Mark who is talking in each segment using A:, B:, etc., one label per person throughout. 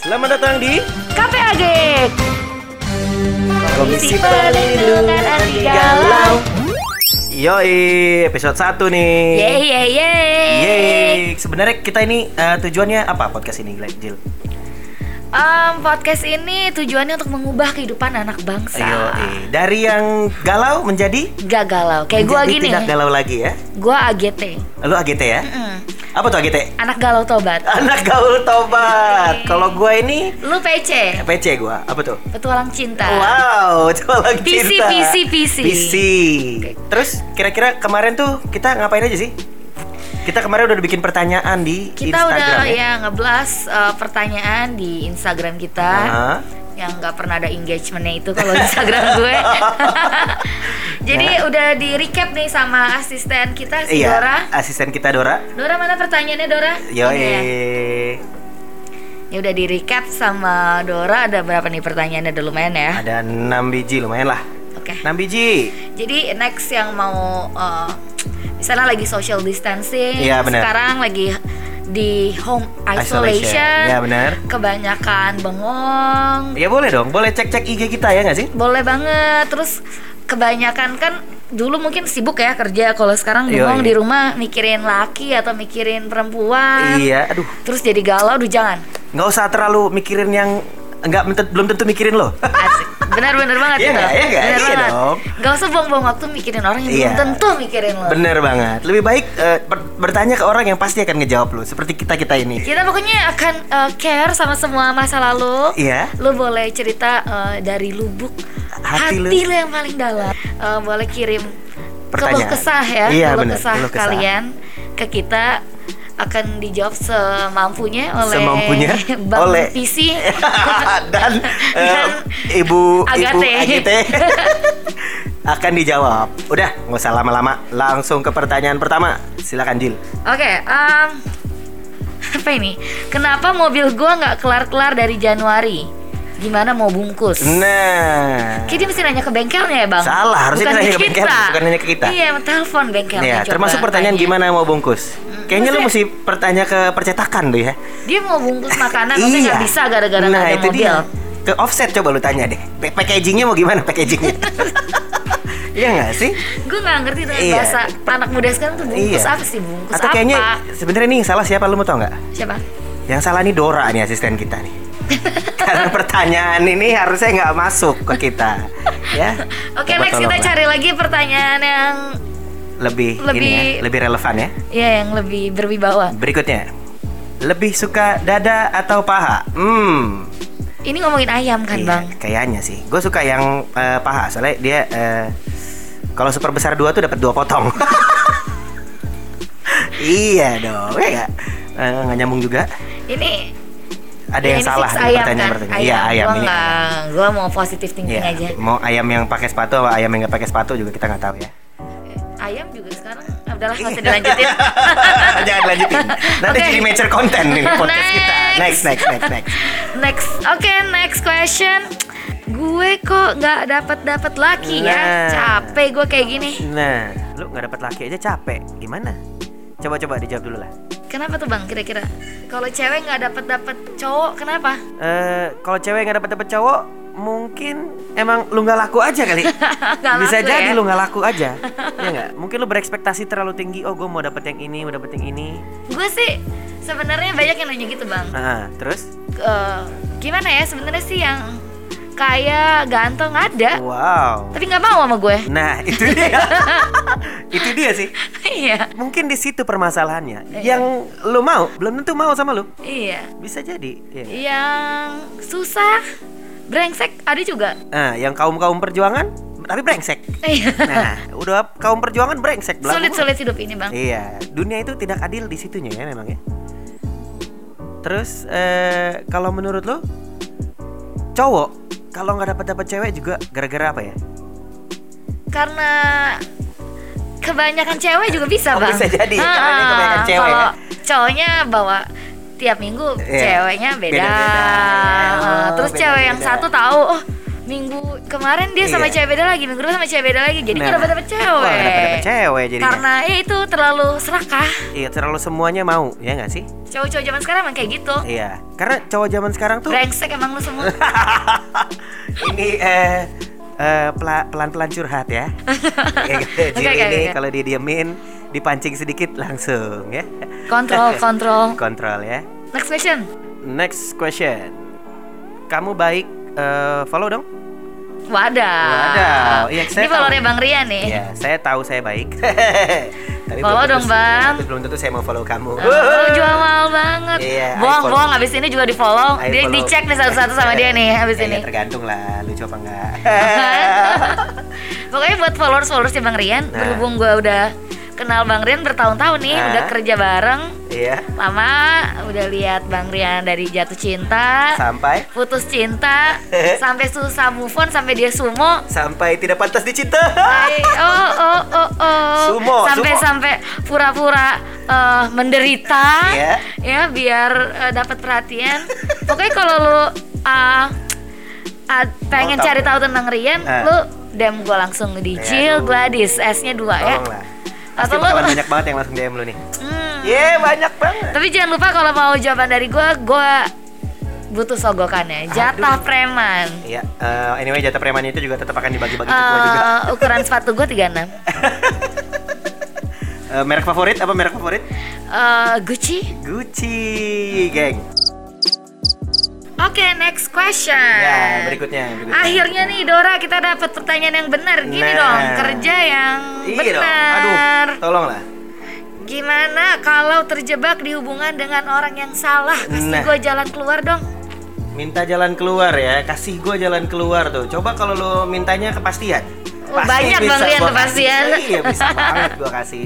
A: Selamat datang di
B: KPAG
A: Komisi Perlindungan Anti Galau. Yoi, episode 1 nih.
B: Yeay yeay yeay
A: Yeay. Sebenarnya kita ini eh, tujuannya apa podcast ini, Glenn Jill?
B: Em, Podcast ini tujuannya untuk mengubah kehidupan anak bangsa
A: Yoi. Dari yang galau menjadi
B: Gak galau Kayak gue
A: menjadi
B: gini
A: tidak galau lagi ya.
B: Gue AGT
A: Lu AGT ya?
B: Mm.
A: Apa tuh AGT?
B: Anak galau tobat
A: Anak gaul tobat. Kalau gua ini
B: Lu PC
A: PC gua. Apa tuh?
B: Petualang cinta
A: Wow, coba lagi
B: PC,
A: cerita.
B: PC, PC.
A: PC. Terus kira-kira kemarin tuh kita ngapain aja sih? Kita kemarin udah bikin pertanyaan di
B: Kita
A: Instagram
B: udah
A: ya.
B: ya ngeblas eh, pertanyaan di Instagram kita
A: Heeh.
B: yang nggak pernah ada engagementnya itu kalau Instagram gue. Jadi udah di recap nih sama asisten kita si
A: Iya,
B: Dora.
A: asisten kita Dora.
B: Dora mana pertanyaannya Dora?
A: Yoi.
B: Ini ya. Ya udah di recap sama Dora ada berapa nih pertanyaannya udah lumayan ya.
A: Ada 6 biji lumayan lah.
B: Oke.
A: 6 biji.
B: Jadi next yang mau eh, misalnya lagi social distancing,
A: Iya, benar.
B: sekarang lagi di home
A: Isolation.
B: isolation,
A: Iya, benar.
B: kebanyakan bengong,
A: Ya boleh dong, boleh cek-cek IG kita ya nggak sih?
B: boleh banget. Terus kebanyakan kan dulu mungkin sibuk ya kerja, kalau sekarang
A: Iya,
B: bengong
A: iya.
B: di rumah mikirin laki atau mikirin perempuan,
A: Iya, aduh.
B: terus jadi galau, duh jangan.
A: nggak usah terlalu mikirin yang nggak mente- belum tentu mikirin loh.
B: Asik. Benar-benar banget
A: Iya
B: itu.
A: nggak? Iya nggak?
B: Benar
A: Iya
B: banget.
A: dong.
B: Nggak usah buang-buang waktu mikirin orang yang belum
A: Iya.
B: tentu mikirin lo.
A: Bener banget. Lebih baik eh, ber- bertanya ke orang yang pasti akan ngejawab lu, seperti kita-kita ini.
B: Kita pokoknya akan uh, care sama semua masa lalu.
A: Iya.
B: Lu boleh cerita uh, dari lubuk
A: Hati lu.
B: hati, lu yang paling dalam. Uh, boleh kirim
A: Pertanyaan.
B: keluh kesah ya,
A: Iya,
B: keluh
A: benar,
B: kesah
A: keluh kesah.
B: kalian ke kita akan dijawab semampunya oleh
A: Semampunya
B: Bang
A: oleh-
B: PC.
A: dan, eh,
B: Dan
A: ibu ibu
B: Agate.
A: Agate akan dijawab. Udah, nggak usah lama-lama. Langsung ke pertanyaan pertama. Silakan Jil.
B: Oke, em, apa ini? Kenapa mobil gua nggak kelar-kelar dari Januari? Gimana mau bungkus?
A: Nah,
B: Kayaknya mesti nanya ke bengkelnya ya bang?
A: Salah, harusnya
B: Bukan
A: nanya
B: ke
A: ke bengkel,
B: kita.
A: bukan nanya ke kita.
B: Iya, telepon bengkelnya
A: ya,
B: coba
A: termasuk pertanyaan
B: tanya.
A: gimana mau bungkus. Kayaknya lu mesti pertanya ke percetakan tuh ya.
B: Dia mau bungkus makanan, maksudnya nggak bisa gara-gara nggak
A: nah,
B: ada
A: itu
B: mobil
A: dia. Ke offset coba lu tanya deh. Pa- Packagingnya mau gimana packagingnya? Iya nggak sih?
B: Gue nggak ngerti dengan
A: Iya.
B: bahasa anak muda sekarang tuh bungkus apa sih? Bungkus
A: Atau
B: apa?
A: kayaknya sebenarnya ini yang salah siapa lu mau tau nggak?
B: Siapa?
A: Yang salah nih Dora nih asisten kita nih. Karena pertanyaan ini harusnya nggak masuk ke kita, ya.
B: Oke,
A: Coba
B: next kita
A: tolonglah.
B: cari lagi pertanyaan yang
A: lebih, ini
B: lebih-
A: ya, lebih relevan ya.
B: ya yang lebih berwibawa.
A: Berikutnya, lebih suka dada atau paha? Hmm,
B: Ini ngomongin ayam kan
A: iya,
B: bang?
A: kayaknya sih. Gue suka yang eh, paha, soalnya dia eh, kalau super besar dua tuh dapat dua potong. iya dong, ya nggak? Eh, nggak nyambung juga.
B: Ini
A: Ada
B: ya,
A: yang
B: ini
A: salah
B: fix
A: nih
B: ayam kan?
A: pertanyaan-pertanyaan. Iya ayam
B: Gua
A: ini.
B: nggak- gua mau positif thinking
A: Iya,
B: aja.
A: mau ayam yang pakai sepatu atau ayam yang nggak pakai sepatu juga kita nggak tahu ya.
B: Ayam juga sekarang, ah, udahlah nggak
A: Iya.
B: usah dilanjutin.
A: Jangan lanjutin. Nanti
B: Oke.
A: jadi major konten nih podcast kita. Next,
B: Next.
A: next, next, next.
B: Next, oke next question. Gue kok nggak dapat dapat laki
A: Nah.
B: ya? Capek gue kayak gini.
A: Nah, lu nggak dapat laki aja capek. Gimana? Coba-coba dijawab dulu lah.
B: Kenapa tuh bang? Kira-kira kalau cewek nggak dapat dapat cowok kenapa?
A: Eh, kalau cewek nggak dapat dapat cowok, mungkin emang lu nggak laku aja kali.
B: Nggak
A: Bisa
B: laku
A: jadi
B: ya?
A: lu nggak laku aja. ya nggak? Mungkin lu berekspektasi terlalu tinggi. Oh, gue mau dapet yang ini, mau dapet yang ini.
B: Gue sih sebenarnya banyak yang nanya gitu bang.
A: Nah, terus?
B: Eh, gimana ya sebenarnya sih yang kaya ganteng ada,
A: Wow.
B: tapi nggak mau sama gue.
A: Nah, itu dia. itu dia sih.
B: iya,
A: Mungkin di situ permasalahannya. Yang lu mau belum tentu mau sama lu.
B: iya.
A: Bisa jadi. ya nggak?
B: Yang susah, brengsek ada juga.
A: Nah, yang kaum kaum perjuangan tapi brengsek.
B: Iya.
A: Nah, udah kaum perjuangan brengsek belagu.
B: Sulit-sulit hidup ini bang.
A: Iya, dunia itu tidak adil di situnya ya memang ya. Terus eh, kalau menurut lo cowok kalau nggak dapat dapat cewek juga gara-gara apa ya?
B: karena kebanyakan cewek juga bisa
A: Oh,
B: bang
A: bisa jadi,
B: Ah,
A: karena ini kebanyakan
B: ah,
A: cewek,
B: kalau
A: ya?
B: cowoknya bawa tiap minggu
A: Iya,
B: ceweknya beda,
A: beda-beda.
B: Ah,
A: Oh,
B: terus
A: beda-beda.
B: cewek yang satu tahu oh minggu kemarin dia sama
A: Iya.
B: cewek beda lagi, minggu depan sama cewek beda lagi. Jadi
A: Nah.
B: nggak dapat dapat cewek.
A: Wah, nggak dapet-dapet cewek jadinya.
B: Karena ya itu terlalu serakah.
A: Iya terlalu semuanya mau ya nggak sih?
B: Cowok-cowok zaman sekarang emang kayak gitu.
A: Iya karena cowok zaman sekarang tuh
B: Brengsek emang lu semua.
A: ini eh eh, pela- pelan-pelan curhat ya. Iya, gitu.
B: Oke,
A: Jadi
B: oke,
A: ini
B: oke.
A: kalau didiemin dipancing sedikit langsung ya.
B: Kontrol, kontrol.
A: Kontrol ya.
B: Next question.
A: Next question. Kamu baik eh, follow dong.
B: Wadah.
A: Wadah. Iya, saya
B: Ini followernya
A: tahu.
B: Bang Rian nih.
A: Iya, saya tahu saya baik. Tapi
B: Follow
A: belum
B: dong,
A: tentu-
B: Bang.
A: Tapi belum tentu saya mau follow kamu.
B: Oh, jual mahal banget.
A: Iya, I
B: bohong,
A: follow.
B: bohong. Abis ini juga di follow.
A: I
B: Dia
A: follow.
B: dicek nih satu-satu sama dia nih abis
A: Ya, ya,
B: ini.
A: tergantung lah lucu apa enggak.
B: Pokoknya buat followers followersnya Bang Rian,
A: Nah.
B: berhubung gue udah kenal Bang Rian bertahun-tahun nih,
A: Nah.
B: udah kerja bareng,
A: Iya.
B: lama, udah lihat Bang Rian dari jatuh cinta,
A: Sampai
B: putus cinta, sampai susah move on, sampai dia sumo.
A: sampai tidak pantas dicinta.
B: Hai, Oh oh oh oh.
A: Sumo,
B: sampai
A: sumo.
B: sampai pura-pura eh, menderita
A: Iya.
B: ya biar eh, dapat perhatian. Pokoknya kalau lu eh, ah, pengen
A: Mau tahu.
B: cari tahu tentang Rian,
A: Eh.
B: lu DM gue langsung di
A: Ya,
B: Jill
A: aduh.
B: Gladys S-nya dua ya.
A: Tolonglah. Pasti
B: Atau lu
A: bakalan banyak banget yang langsung DM lu nih.
B: Hmm.
A: Ye, banyak banget.
B: Tapi jangan lupa kalau mau jawaban dari gue, gue butuh sogokannya, jatah preman.
A: Iya, eh, anyway jatah preman itu juga tetap akan dibagi-bagi ke gua juga.
B: Eh, ukuran sepatu gue 36
A: Eh, merek favorit apa merek favorit?
B: Eh, Gucci
A: Gucci, geng.
B: Oke, next question.
A: Ya, berikutnya, berikutnya.
B: Akhirnya nih Dora kita dapat pertanyaan yang benar. Gini
A: Nah.
B: dong, kerja yang
A: Iya dong. Aduh,
B: benar.
A: tolonglah.
B: Gimana kalau terjebak di hubungan dengan orang yang salah? Kasih
A: Nah.
B: gue jalan keluar dong.
A: Minta jalan keluar ya, kasih gua jalan keluar tuh. Coba kalau lu mintanya kepastian.
B: Oh, banyak
A: bisa
B: Bang Rian
A: gua
B: kepastian.
A: kasih. Iya, bisa banget gua kasih.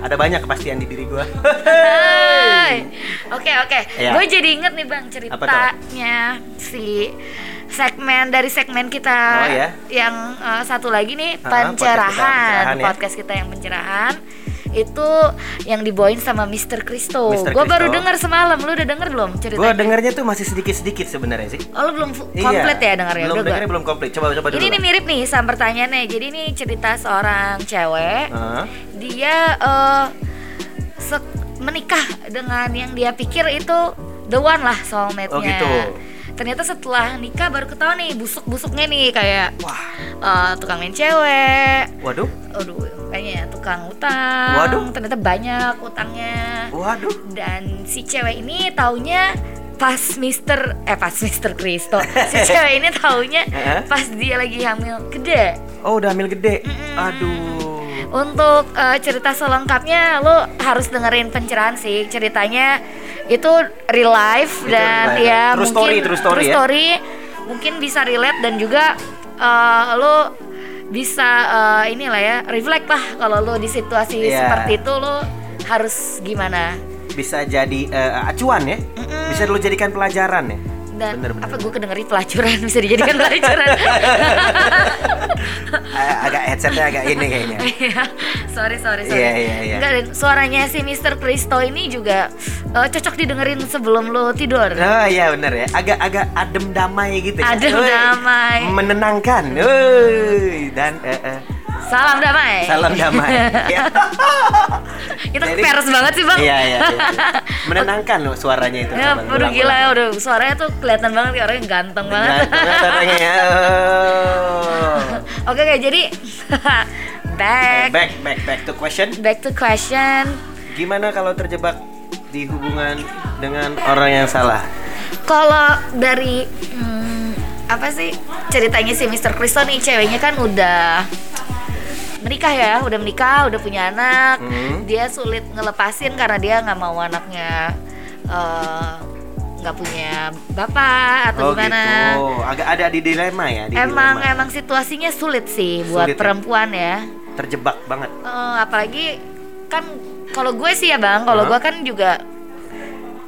A: Ada banyak kepastian di diri gua.
B: Hai. Oke, oke.
A: Iya.
B: Gue jadi inget nih
A: Apa
B: Bang ceritanya si segmen dari segmen kita
A: Oh, iya.
B: yang eh, satu lagi nih
A: Ah, podcast kita
B: pencerahan,
A: pencerahan, ya.
B: podcast kita yang pencerahan itu yang dibawain sama Mr. Kristo.
A: Mr.
B: Gue baru
A: Kristo.
B: dengar semalam. Lu udah denger belum
A: gua
B: ceritanya?
A: dengernya tuh masih sedikit-sedikit sebenarnya sih. Iya.
B: Oh, lu belum fu- komplit ya dengarnya.
A: Belum
B: Udah gua-
A: dengarnya belum komplit. Coba coba dulu.
B: Ini nih mirip nih sama pertanyaannya. Jadi ini cerita seorang cewek.
A: Heeh.
B: Dia eh, se- menikah dengan yang dia pikir itu the one lah
A: Oh,
B: soulmate-nya.
A: gitu.
B: Ternyata setelah nikah baru ketahuan nih busuk-busuknya nih kayak
A: Wah,
B: eh, tukang main cewek.
A: waduh,
B: Aduh, kayaknya ya, tukang utang.
A: Waduh.
B: Ternyata banyak utangnya
A: waduh.
B: dan si cewek ini taunya pas Mister eh pas Mister Kristo si cewek ini taunya
A: Heeh.
B: pas dia lagi hamil gede
A: Oh, udah hamil gede.
B: Mm-mm.
A: Aduh.
B: untuk eh, cerita selengkapnya lo harus dengerin pencerahan sih ceritanya itu real life
A: Itu real
B: dan
A: life.
B: ya
A: True
B: mungkin
A: story, true story ya.
B: mungkin bisa relate dan juga eh, lo bisa eh, inilah ya reflect lah kalau lo di situasi
A: Iya.
B: seperti itu lo harus gimana
A: Bisa jadi eh, acuan ya.
B: Mm-mm.
A: Bisa lu jadikan pelajaran ya.
B: dan
A: Bener, bener.
B: apa gue kedengerin pelacuran bisa dijadikan pelacuran
A: A- agak headsetnya agak ini kayaknya.
B: Iya, sorry sorry sorry
A: Iya, iya, iya.
B: Enggak, dan suaranya si Mr. Kristo ini juga eh, cocok didengerin sebelum lo tidur
A: Oh iya bener ya, agak-agak adem damai gitu ya.
B: Adem
A: Woi,
B: damai.
A: Menenangkan Woi, Dan eh, eh,
B: salam damai
A: salam damai Ya.
B: kita
A: Jadi-
B: pers banget sih bang
A: Iya iya iya. Menenangkan loh suaranya itu
B: Ya,
A: Coba
B: aduh
A: ulang,
B: gila ya,
A: ulang.
B: udah suaranya tuh kelihatan banget kayak orangnya ganteng banget.
A: Menenangkan Nah, suaranya ya Oh.
B: Oke, oke, jadi back
A: Eh, Back, back, back to question
B: back to question.
A: Gimana kalau terjebak di hubungan dengan orang yang salah?
B: Kalau dari hmm, apa sih ceritanya si Mr. Kristo nih ceweknya kan udah menikah ya, udah menikah, udah punya anak.
A: Hmm.
B: Dia sulit ngelepasin karena dia nggak mau anaknya eh, nggak punya bapak atau gimana.
A: gitu, agak ada di dilema ya di
B: Emang
A: dilema.
B: emang situasinya sulit sih buat
A: Sulit ya?
B: perempuan ya.
A: Terjebak banget
B: Eh, apalagi kan kalau gue sih ya bang, kalau
A: Hah?
B: gue kan juga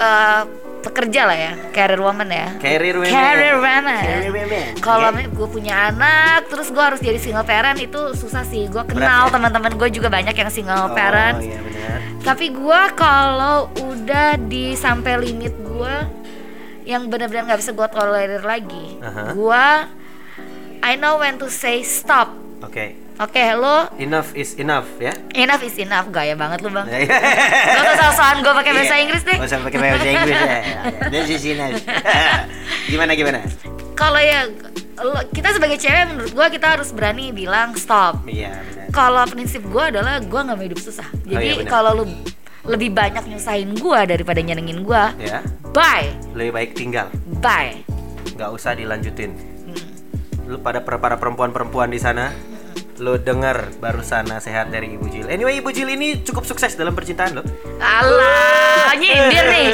B: eh, pekerja lah ya, career woman ya.
A: Carrier women
B: Career woman.
A: Career women.
B: Kalau
A: Oke.
B: gue punya anak, terus gue harus jadi single parent itu susah sih. Gue
A: Berat
B: kenal
A: ya?
B: teman-teman gue juga banyak yang single parent.
A: Oh iya benar
B: Tapi gue kalau udah di sampai limit gue yang benar-benar nggak bisa gue tolerir lagi,
A: Aha.
B: gue I know when to say stop.
A: Oke.
B: Oke, hello.
A: Enough is enough ya.
B: Enough is enough. Gaya banget lu, Bang. Gak usah soal-soalan gue pakai bahasa
A: Iya.
B: Inggris deh.
A: Gak usah pakai bahasa Inggris ya. This is enough. gimana gimana?
B: Kalau ya lo- kita sebagai cewek menurut gue kita harus berani bilang stop.
A: Iya benar.
B: Kalau prinsip gue adalah gue nggak mau hidup susah.
A: iya,
B: Jadi
A: benar.
B: kalau lu lebih banyak nyusahin gue daripada nyenengin gue,
A: Ya,
B: bye,
A: lebih baik tinggal,
B: bye.
A: nggak usah dilanjutin. Lu pada per- para perempuan-perempuan di sana, lu dengar barusan nasihat dari Ibu Jil. Anyway, Ibu Jil ini cukup sukses dalam percintaan lo.
B: Alah, nyindir nih.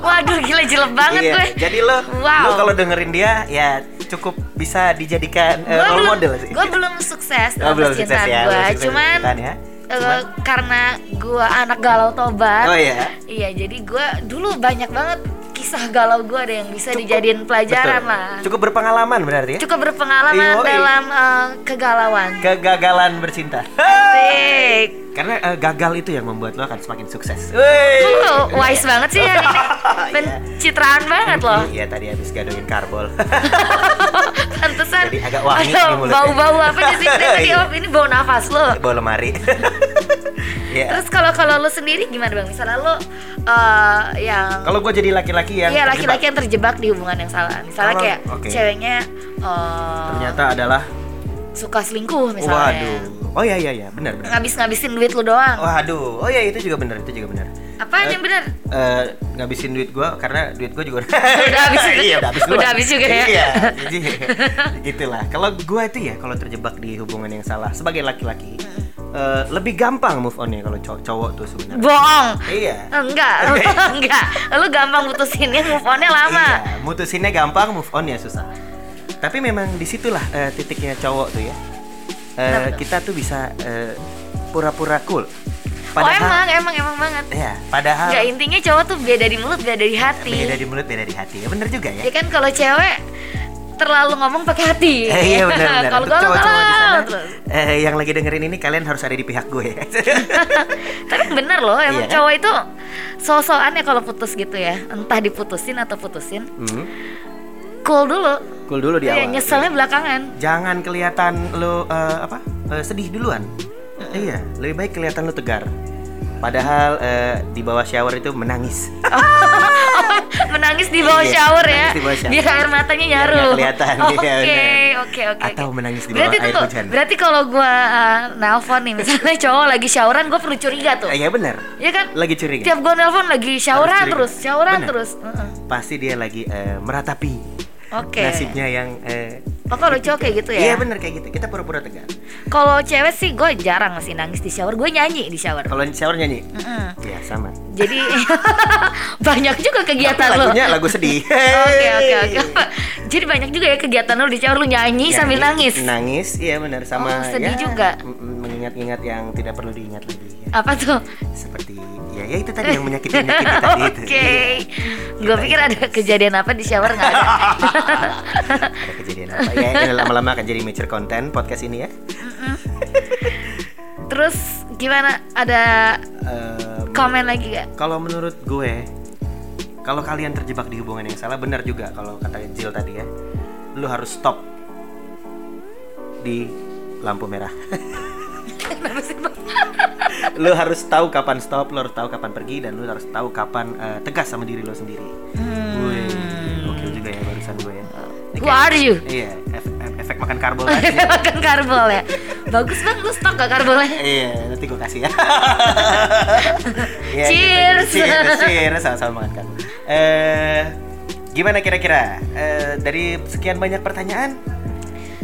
B: Waduh, gila jelek banget
A: Iya,
B: gue.
A: Jadi lo,
B: Wow.
A: lo kalau dengerin dia ya cukup bisa dijadikan eh,
B: Gue
A: role
B: belum,
A: model sih.
B: gue belum sukses
A: Oh,
B: dalam
A: belum sukses
B: percintaan
A: ya,
B: gue.
A: belum sukses
B: Cuman,
A: percintaan ya.
B: eh,
A: Cuman-
B: karena gue anak galau tobat.
A: Oh iya.
B: Iya, jadi gue dulu banyak banget kisah galau gue ada yang bisa dijadiin pelajaran
A: Betul.
B: lah.
A: Cukup berpengalaman berarti ya.
B: Cukup berpengalaman
A: Yoi.
B: dalam eh, kegalauan.
A: Kegagalan bercinta.
B: Asik.
A: Karena eh, gagal itu yang membuat lo akan semakin sukses. Wey.
B: Lu wise banget sih ya. Pencitraan banget loh.
A: Iya tadi habis gadoin karbol.
B: Pantesan
A: Jadi agak wangi
B: ada
A: di mulutnya.
B: bau-bau apa di sini tadi
A: Iya.
B: Om, ini bau nafas lo.
A: Bawa lemari. Iya.
B: Terus kalau kalau lo sendiri gimana bang? Misalnya lo eh, yang
A: Kalau gue jadi laki-laki yang
B: Iya
A: terjebak,
B: laki-laki yang terjebak di hubungan yang salah. Misalnya
A: Kalau-
B: kayak
A: oke.
B: ceweknya eh,
A: ternyata adalah
B: suka
A: waduh.
B: selingkuh misalnya.
A: Oh iya iya iya benar benar.
B: Ngabis-ngabisin duit lo doang.
A: Waduh. Oh iya itu juga benar itu juga benar.
B: Apaan yang benar?
A: Eh, ngabisin duit gua karena duit gua juga
B: Udah habis itu.
A: iya udah habis
B: Udah
A: duluan.
B: habis juga ya.
A: iya jadi gitulah kalau gua itu ya kalau terjebak di hubungan yang salah sebagai laki-laki eh, lebih gampang move onnya kalau cow- cowok tuh sebenarnya
B: Bohong.
A: iya
B: Enggak, enggak. Lo gampang putusinnya move onnya lama.
A: Iya, mutusinnya gampang, move on ya susah. Tapi memang disitulah eh, titiknya cowok tuh ya. Eh, kita tuh bisa eh, pura-pura cool.
B: Oh
A: Padahal,
B: emang, emang, emang banget.
A: ya, padahal
B: Enggak intinya cowok tuh beda di mulut, beda di hati.
A: beda di mulut, beda di hati. Ya bener juga ya.
B: Ya kan kalau cewek terlalu ngomong pakai hati.
A: Eh, iya benar benar.
B: Kalau
A: Untuk
B: galau
A: cowok-cowok di
B: galau
A: sana,
B: terus.
A: eh, yang lagi dengerin ini kalian harus ada di pihak gue. ya.
B: Tapi bener loh, emang
A: Iya kan?
B: cowok itu sosokan ya kalau putus gitu ya. Entah diputusin atau putusin,
A: hmm.
B: cool dulu.
A: Cool dulu di awal.
B: Iya, nyeselnya belakangan.
A: Jangan kelihatan lo eh, apa? eh, sedih duluan. Iya, lebih baik kelihatan lo tegar. Padahal eh, di bawah shower itu menangis.
B: Menangis di bawah
A: Iya,
B: shower ya.
A: menangis di bawah shower.
B: Biar air matanya
A: Biar
B: nyaru.
A: nggak kelihatan,
B: Oh,
A: iya,
B: Oke,
A: bener.
B: oke, oke.
A: Atau
B: oke.
A: menangis di bawah
B: berarti
A: air
B: tuh,
A: hujan.
B: Berarti kalau gua uh, nelpon nih misalnya cowok lagi showeran gua perlu curiga tuh.
A: Eh, ya benar.
B: Iya kan?
A: Lagi curiga.
B: Tiap gua nelpon lagi showeran
A: curiga.
B: terus, showeran
A: Bener.
B: terus. Heeh.
A: Pasti dia lagi eh, meratapi
B: Oke.
A: nasibnya yang eh,
B: Pokoknya udah cowok kayak gitu ya.
A: Iya benar kayak gitu. Kita pura-pura tegar.
B: Kalau cewek sih gue jarang masih nangis di shower, gue nyanyi di shower.
A: Kalau di shower nyanyi.
B: Mm-mm.
A: Iya, sama.
B: Jadi banyak juga kegiatan
A: Tapi
B: lo.
A: lagunya lagu sedih.
B: Iya, Oke oke oke. Jadi banyak juga ya kegiatan lo di shower lu nyanyi
A: Nyanyi,
B: sambil nangis.
A: Iya, Nangis, iya benar sama
B: Oh, sedih juga.
A: mm, mengingat-ingat yang tidak perlu diingat lagi ya.
B: Apa tuh?
A: Seperti ya ya itu tadi yang menyakiti-nyakiti tadi itu.
B: Oke.
A: Iya.
B: Gue pikir ada kejadian apa di shower nggak ada.
A: Ada kejadian apa? Ya, ini lama-lama akan jadi major content podcast ini ya.
B: Terus gimana? Ada
A: Em,
B: komen lagi gak?
A: Kalau menurut gue, kalau kalian terjebak di hubungan yang salah, benar juga kalau kata Jill tadi ya, lu harus stop di lampu merah. lu harus tahu kapan stop, lu harus tahu kapan pergi, dan lu harus tahu kapan eh, tegas sama diri lu sendiri. Wih, oke juga ya barusan gue ya. Ini
B: Hmm. Who are you?
A: Iya, ef- ef- efek makan karbol kan?
B: Makan karbol ya. Bagus banget lu stok gak karbolnya?
A: Iya, nanti gue kasih ya. Iya,
B: Cheers.
A: gitu. Cheers, cheers, sama-sama makan kamu. Eh, gimana kira-kira Eh, dari sekian banyak pertanyaan?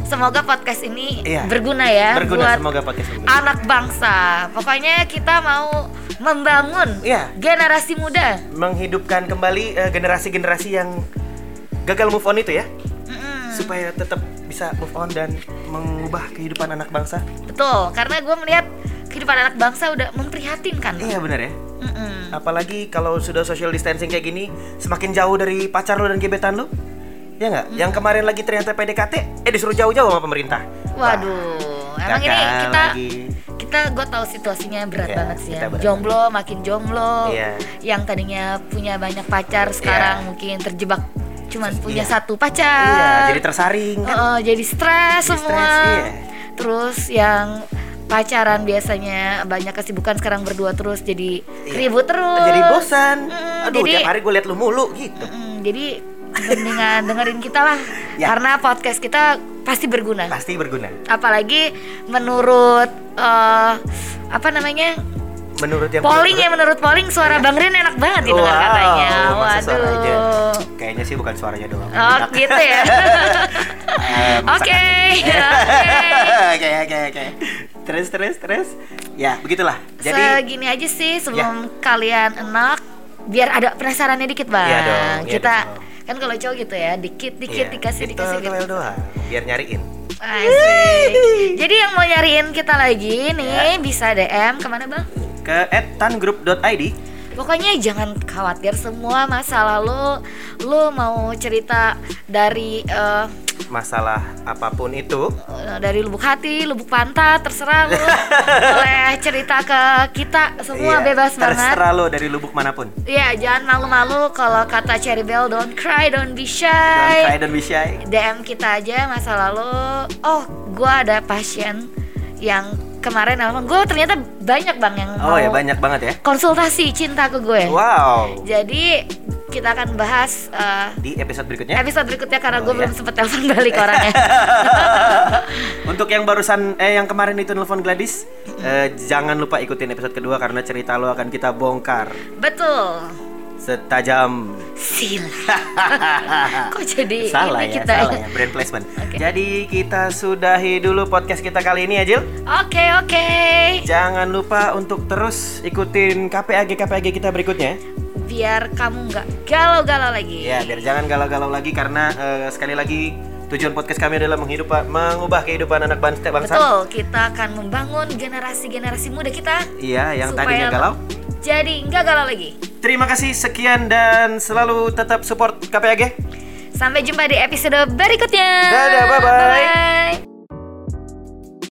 B: Semoga podcast ini
A: Iya.
B: berguna ya
A: Berguna
B: buat
A: semoga pakai sebelum.
B: anak bangsa. Pokoknya kita mau membangun
A: Iya.
B: generasi muda.
A: Menghidupkan kembali eh, generasi-generasi yang gagal move on itu ya,
B: Hmm. Mm-mm.
A: supaya tetap bisa move on dan mengubah kehidupan anak bangsa.
B: Hmm. Betul, karena gue melihat kehidupan anak bangsa udah memprihatinkan.
A: Iya benar ya.
B: Mm-mm.
A: Apalagi kalau sudah social distancing kayak gini, semakin jauh dari pacar lo dan gebetan lo. Ya nggak?
B: Hmm.
A: Yang kemarin lagi ternyata PDKT, eh disuruh jauh-jauh sama pemerintah.
B: Waduh,
A: Wah,
B: emang
A: gagal
B: ini kita
A: Iya kan, lagi.
B: kita gue tahu situasinya berat
A: Iya,
B: banget sih ya.
A: kita berat
B: Jomblo makin jomblo.
A: Iya.
B: Yang tadinya punya banyak pacar sekarang mungkin terjebak cuman
A: Terus-
B: punya
A: iya.
B: satu pacar
A: Iya, jadi tersaring kan.
B: Heeh, jadi stres
A: Jadi
B: semua
A: stres, iya.
B: terus yang pacaran biasanya banyak kesibukan sekarang berdua terus jadi
A: Iya.
B: ribut terus
A: Jadi bosan.
B: Mm,
A: Aduh,
B: jadi
A: tiap hari gue liat lu mulu gitu.
B: mm, jadi mendingan dengerin kita lah
A: Ya.
B: karena podcast kita pasti berguna
A: Pasti berguna.
B: apalagi menurut eh, apa namanya
A: Menurut yang
B: polling ya
A: menurut-
B: menurut polling suara Bang Rin enak banget didengar
A: Wow,
B: katanya
A: masa suara aja.
B: waduh
A: Kayaknya sih bukan suaranya doang.
B: oh
A: Enak.
B: gitu ya
A: Eh, masakan.
B: oke oke
A: Oke, oke, oke. Terus, terus, terus. Ya, begitulah. Jadi Ya.
B: segini aja sih sebelum kalian enak biar ada penasarannya dikit bang
A: Iya dong, iya
B: kita
A: dong.
B: kan kalau cowok gitu ya dikit dikit
A: Iya,
B: dikasih
A: itu
B: dikasih gitu
A: email doang biar nyariin.
B: Asik. jadi yang mau nyariin kita lagi
A: Ya.
B: nih bisa dm kemana bang
A: Ke @tangroup.id.
B: Pokoknya jangan khawatir semua masalah lo Lo mau cerita dari eh,
A: Masalah apapun itu,
B: eh, dari lubuk hati, lubuk pantat, terserah lo Boleh cerita ke kita, semua
A: iya,
B: bebas banget
A: terserah lo dari lubuk manapun.
B: Iya, jangan malu-malu kalau kata Cherry Bell, don't cry, don't be shy.
A: Don't cry, don't be shy.
B: DM kita aja masa lalu. Oh, gua ada pasien yang kemarin apa? Gue ternyata banyak bang yang
A: Oh
B: mau
A: ya banyak banget ya.
B: konsultasi cinta ke gue.
A: Wow.
B: Jadi kita akan bahas eh,
A: Di episode berikutnya.
B: episode berikutnya karena
A: Oh,
B: gue
A: iya.
B: belum sempet telepon balik orangnya.
A: Untuk yang barusan eh yang kemarin itu nelfon Gladys, eh, jangan lupa ikutin episode kedua karena cerita lo akan kita bongkar
B: Betul.
A: setajam
B: Sila. Kok jadi
A: salah ya,
B: ini kita?
A: salah ya, brand placement.
B: Oke.
A: Jadi kita sudahi dulu podcast kita kali ini ya, Jil.
B: Oke oke.
A: Jangan lupa untuk terus ikutin KPAG KPAG kita berikutnya.
B: Biar kamu nggak galau-galau lagi.
A: Ya, biar jangan galau-galau lagi karena eh, sekali lagi tujuan podcast kami adalah menghidup mengubah kehidupan anak bangsa. bangsa.
B: Betul, kita akan membangun generasi-generasi muda kita
A: Iya, yang
B: supaya
A: tadinya galau.
B: Jadi nggak galau lagi.
A: Terima kasih sekian dan selalu tetap support KPAG.
B: Sampai jumpa di episode berikutnya.
A: Dadah, bye-bye.